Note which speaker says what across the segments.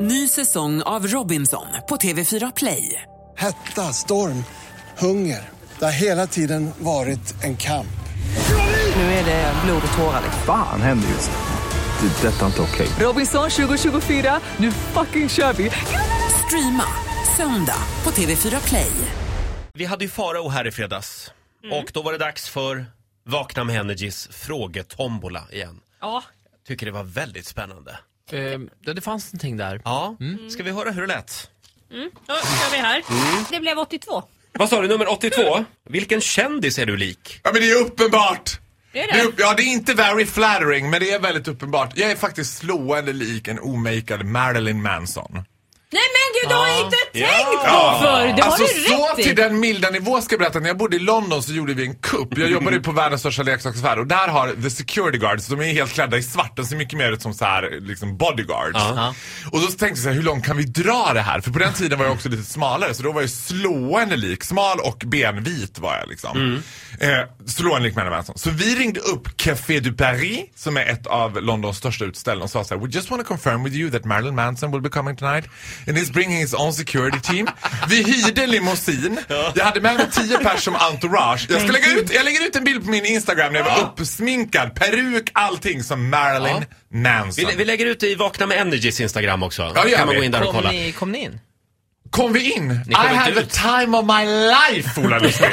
Speaker 1: Ny säsong av Robinson på TV4 Play.
Speaker 2: Hetta, storm, hunger. Det har hela tiden varit en kamp.
Speaker 1: Nu är det blod och tårar. liksom.
Speaker 3: Fan händer just nu. Det. är Detta är inte okej.
Speaker 1: Robinson 2024, nu fucking kör vi! Streama söndag på TV4 Play.
Speaker 4: Vi hade ju Farao här i fredags. Och då var det dags för Vakna med Energys frågetombola igen.
Speaker 5: Ja,
Speaker 4: Tycker det var väldigt spännande.
Speaker 6: Eh, ja, det fanns någonting där.
Speaker 4: Ja, Mm. ska vi höra hur det lät?
Speaker 5: då kör vi här.
Speaker 7: Mm.
Speaker 5: Det blev 82.
Speaker 4: Vad sa du, nummer 82? Vilken kändis är du lik?
Speaker 7: Ja men det är uppenbart!
Speaker 5: Det är
Speaker 7: Det är
Speaker 5: det.
Speaker 7: upp, ja det är inte very flattering men det är väldigt uppenbart. Jag är faktiskt slående lik en omakead Marilyn Manson.
Speaker 5: Nej men gud, du har inte tänkt
Speaker 7: Ja.
Speaker 5: på förr! Det har
Speaker 7: alltså
Speaker 5: du
Speaker 7: så
Speaker 5: rätt i.
Speaker 7: till den milda nivå ska jag berätta. När jag bodde i London så gjorde vi en kupp. Jag jobbade ju på världens största leksaksaffär och där har the security guards, de är helt klädda i svart. De ser mycket mer ut som så här, liksom bodyguards. Och då tänkte jag så här, hur långt kan vi dra det här? För på den tiden var jag också lite smalare så då var jag slående lik. Smal och benvit var jag liksom. Eh, slående lik Marilyn Manson. Så vi ringde upp Café du Paris som är ett av Londons största utställen och sa så här, we just want to confirm with you that Marilyn Manson will be coming tonight and he's bringing his own security team. Vi hyrde en limousin. Jag hade med mig tio pers som entourage. Jag, ska lägga ut, jag lägger ut en bild på min Instagram när jag var uppsminkad, peruk, allting som Marilyn Manson.
Speaker 4: Vi, vi lägger ut det i Vakna med Energys Instagram också.
Speaker 7: Alltså. det gör
Speaker 4: kan man
Speaker 7: vi.
Speaker 4: gå in där och
Speaker 6: Kom
Speaker 4: kolla.
Speaker 6: ni, kom ni in?
Speaker 7: Kom vi in? I
Speaker 4: kom inte
Speaker 7: had the
Speaker 4: ut.
Speaker 7: time of my life, Ola Lustig.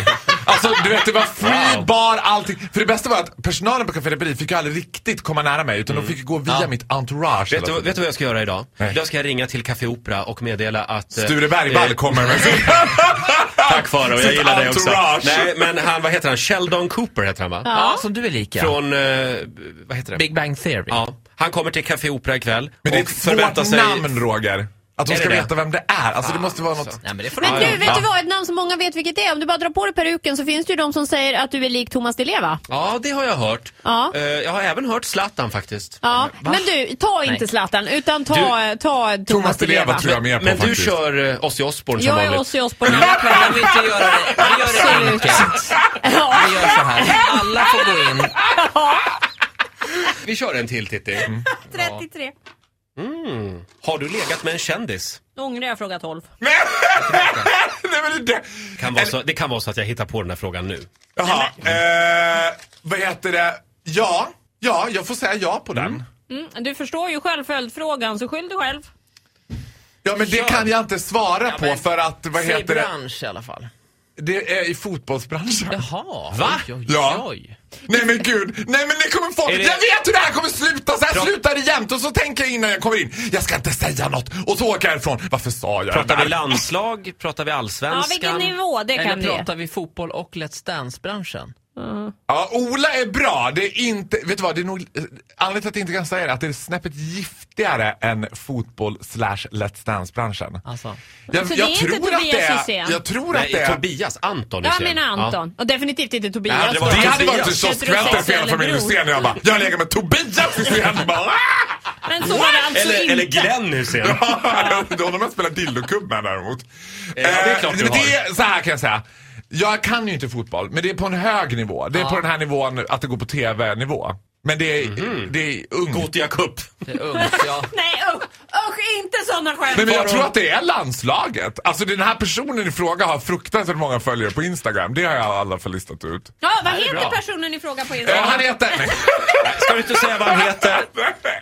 Speaker 7: Alltså du vet det var free
Speaker 4: Wow.
Speaker 7: bar, allting. För det bästa var att personalen på Café Reperi fick ju aldrig riktigt komma nära mig utan de fick ju gå via
Speaker 4: Mm. Ja.
Speaker 7: mitt entourage.
Speaker 4: Vet
Speaker 7: hela
Speaker 4: du,
Speaker 7: tiden.
Speaker 4: vet du vad jag ska göra idag?
Speaker 7: Nej.
Speaker 4: Idag ska jag ringa till Café Opera och meddela att... eh,
Speaker 7: Sture Bergvall kommer med sin
Speaker 4: Tack Farao, jag
Speaker 7: Sitt
Speaker 4: gillar dig också.
Speaker 7: entourage.
Speaker 4: Nej, men han, vad heter han? Sheldon Cooper heter han va?
Speaker 6: Ja. Som du är lika.
Speaker 4: Från, eh, vad heter det?
Speaker 6: Big Bang Theory.
Speaker 4: Ja, han kommer till Café Opera ikväll.
Speaker 7: Men det är
Speaker 4: och
Speaker 7: ett
Speaker 4: förväntar
Speaker 7: svårt namn Roger. Att
Speaker 4: Är
Speaker 7: hon ska
Speaker 4: det Ah, det?
Speaker 7: veta vem det är. Alltså det måste vara något.
Speaker 6: Nej, men det får
Speaker 5: Men
Speaker 6: du
Speaker 5: du,
Speaker 6: göra.
Speaker 5: vet du vad? Ett namn som många vet vilket det är. Om du bara drar på dig peruken så finns det ju de som säger att du är lik Thomas Di Leva.
Speaker 4: Ja, det har jag hört.
Speaker 5: Ja.
Speaker 4: Eh, jag har även hört Zlatan faktiskt.
Speaker 5: Ja. Men du, ta inte Zlatan utan ta, ta Thomas,
Speaker 7: Thomas Di Leva tror jag
Speaker 4: Men,
Speaker 7: mer på
Speaker 4: men du
Speaker 7: faktiskt.
Speaker 4: kör uh, Ozzy Osbourne som
Speaker 5: Jag är
Speaker 4: vanligt.
Speaker 5: Ozzy Osbourne.
Speaker 6: Kan vi inte göra det? Vi gör det
Speaker 5: Absolut.
Speaker 6: enkelt.
Speaker 5: Ja.
Speaker 6: Vi gör så här. Alla får gå in.
Speaker 4: Vi kör en till Titti.
Speaker 7: Mm.
Speaker 5: 33.
Speaker 4: Har du legat med en kändis?
Speaker 5: Då ångrar jag fråga 12.
Speaker 7: Nej, men det,
Speaker 4: Kan vara så, det kan vara så att jag hittar på den här frågan nu.
Speaker 7: Jaha, eh, vad heter det? Ja, ja, jag får säga ja på den.
Speaker 5: Mm, du förstår ju själv följdfrågan, så skyll dig själv.
Speaker 7: Ja men det kan jag inte svara på
Speaker 6: men-
Speaker 7: för att, vad
Speaker 6: Säg
Speaker 7: heter det?
Speaker 6: bransch i alla fall.
Speaker 7: Det är i fotbollsbranschen.
Speaker 6: Jaha.
Speaker 4: Va?
Speaker 6: Oj, oj,
Speaker 7: Ja.
Speaker 6: oj.
Speaker 7: Nej men gud, nej men det kommer folk,
Speaker 4: Är det-
Speaker 7: jag vet hur det här kommer sluta! Så här
Speaker 4: Pra-
Speaker 7: slutar det jämt och så tänker jag innan jag kommer in, jag ska inte säga något och så åker jag ifrån. Varför sa jag det
Speaker 4: Pratar vi
Speaker 7: där?
Speaker 4: landslag? Pratar vi
Speaker 5: Ja,
Speaker 4: allsvenskan?
Speaker 5: vilken nivå det kan
Speaker 6: Eller
Speaker 5: bli.
Speaker 6: pratar vi fotboll och Let's Dance-branschen?
Speaker 7: Ja, Ola är bra, det är inte, vet du vad, det är nog, eh, anledningen till att jag inte kan säga det är att det är snäppet giftigare än fotboll slash Let's Dance-branschen.
Speaker 6: Alltså.
Speaker 7: Jag,
Speaker 5: Så det är
Speaker 7: jag,
Speaker 5: inte
Speaker 7: tror att det
Speaker 5: Tobias
Speaker 7: är,
Speaker 5: Hysén?
Speaker 7: jag tror att
Speaker 4: Nej,
Speaker 7: det är...
Speaker 4: Tobias. Anton
Speaker 5: Jag
Speaker 4: Hysén.
Speaker 5: menar Anton. Och definitivt inte Tobias.
Speaker 7: Ja, det, var,
Speaker 5: då.
Speaker 7: det hade varit en
Speaker 4: Tobias.
Speaker 7: kioskvältare för hela familjen
Speaker 5: Bror.
Speaker 7: Hysén när jag bara, jag lägger med Tobias Hysén! och bara, "Ah!"
Speaker 5: Men så var det
Speaker 4: Ja.
Speaker 5: alltså
Speaker 4: Eller,
Speaker 5: inte.
Speaker 4: eller Glenn Hysén.
Speaker 7: Då har man spelat dildokubb med däremot. Eh,
Speaker 4: det är klart du
Speaker 7: men det
Speaker 4: har.
Speaker 7: är, så här kan jag säga. Jag kan ju inte fotboll, men det är på en hög nivå. Det är på den här nivån att det går på TV-nivå. Men det är,
Speaker 4: Mhm.
Speaker 7: det är ungt.
Speaker 4: Gothia Cup.
Speaker 6: Det är ungt, ja.
Speaker 5: Nej usch, usch inte sådana skämt.
Speaker 7: Nej, men jag tror att det är landslaget. Alltså den här personen i fråga har fruktansvärt många följare på Instagram. Det har jag i alla fall listat ut.
Speaker 5: Ja, vad
Speaker 4: är
Speaker 5: heter
Speaker 4: bra.
Speaker 5: personen i fråga på
Speaker 7: Eh,
Speaker 5: Instagram?
Speaker 7: han heter... Nej,
Speaker 4: Ska du inte säga vad han heter?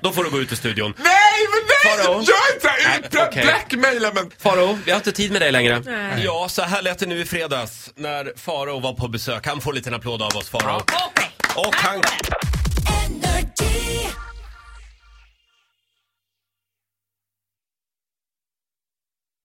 Speaker 4: Då får du gå ut ur studion.
Speaker 7: nej men nej!
Speaker 4: Faro?
Speaker 7: Gör inte det! Inte
Speaker 4: okej.
Speaker 7: blackmaila men...
Speaker 4: Faro, vi har inte tid med dig längre.
Speaker 5: Nej.
Speaker 4: Ja, så här lät det nu i fredags när Faro var på besök. Han får en liten applåd av oss, Faro.
Speaker 5: Okej.
Speaker 4: Och han...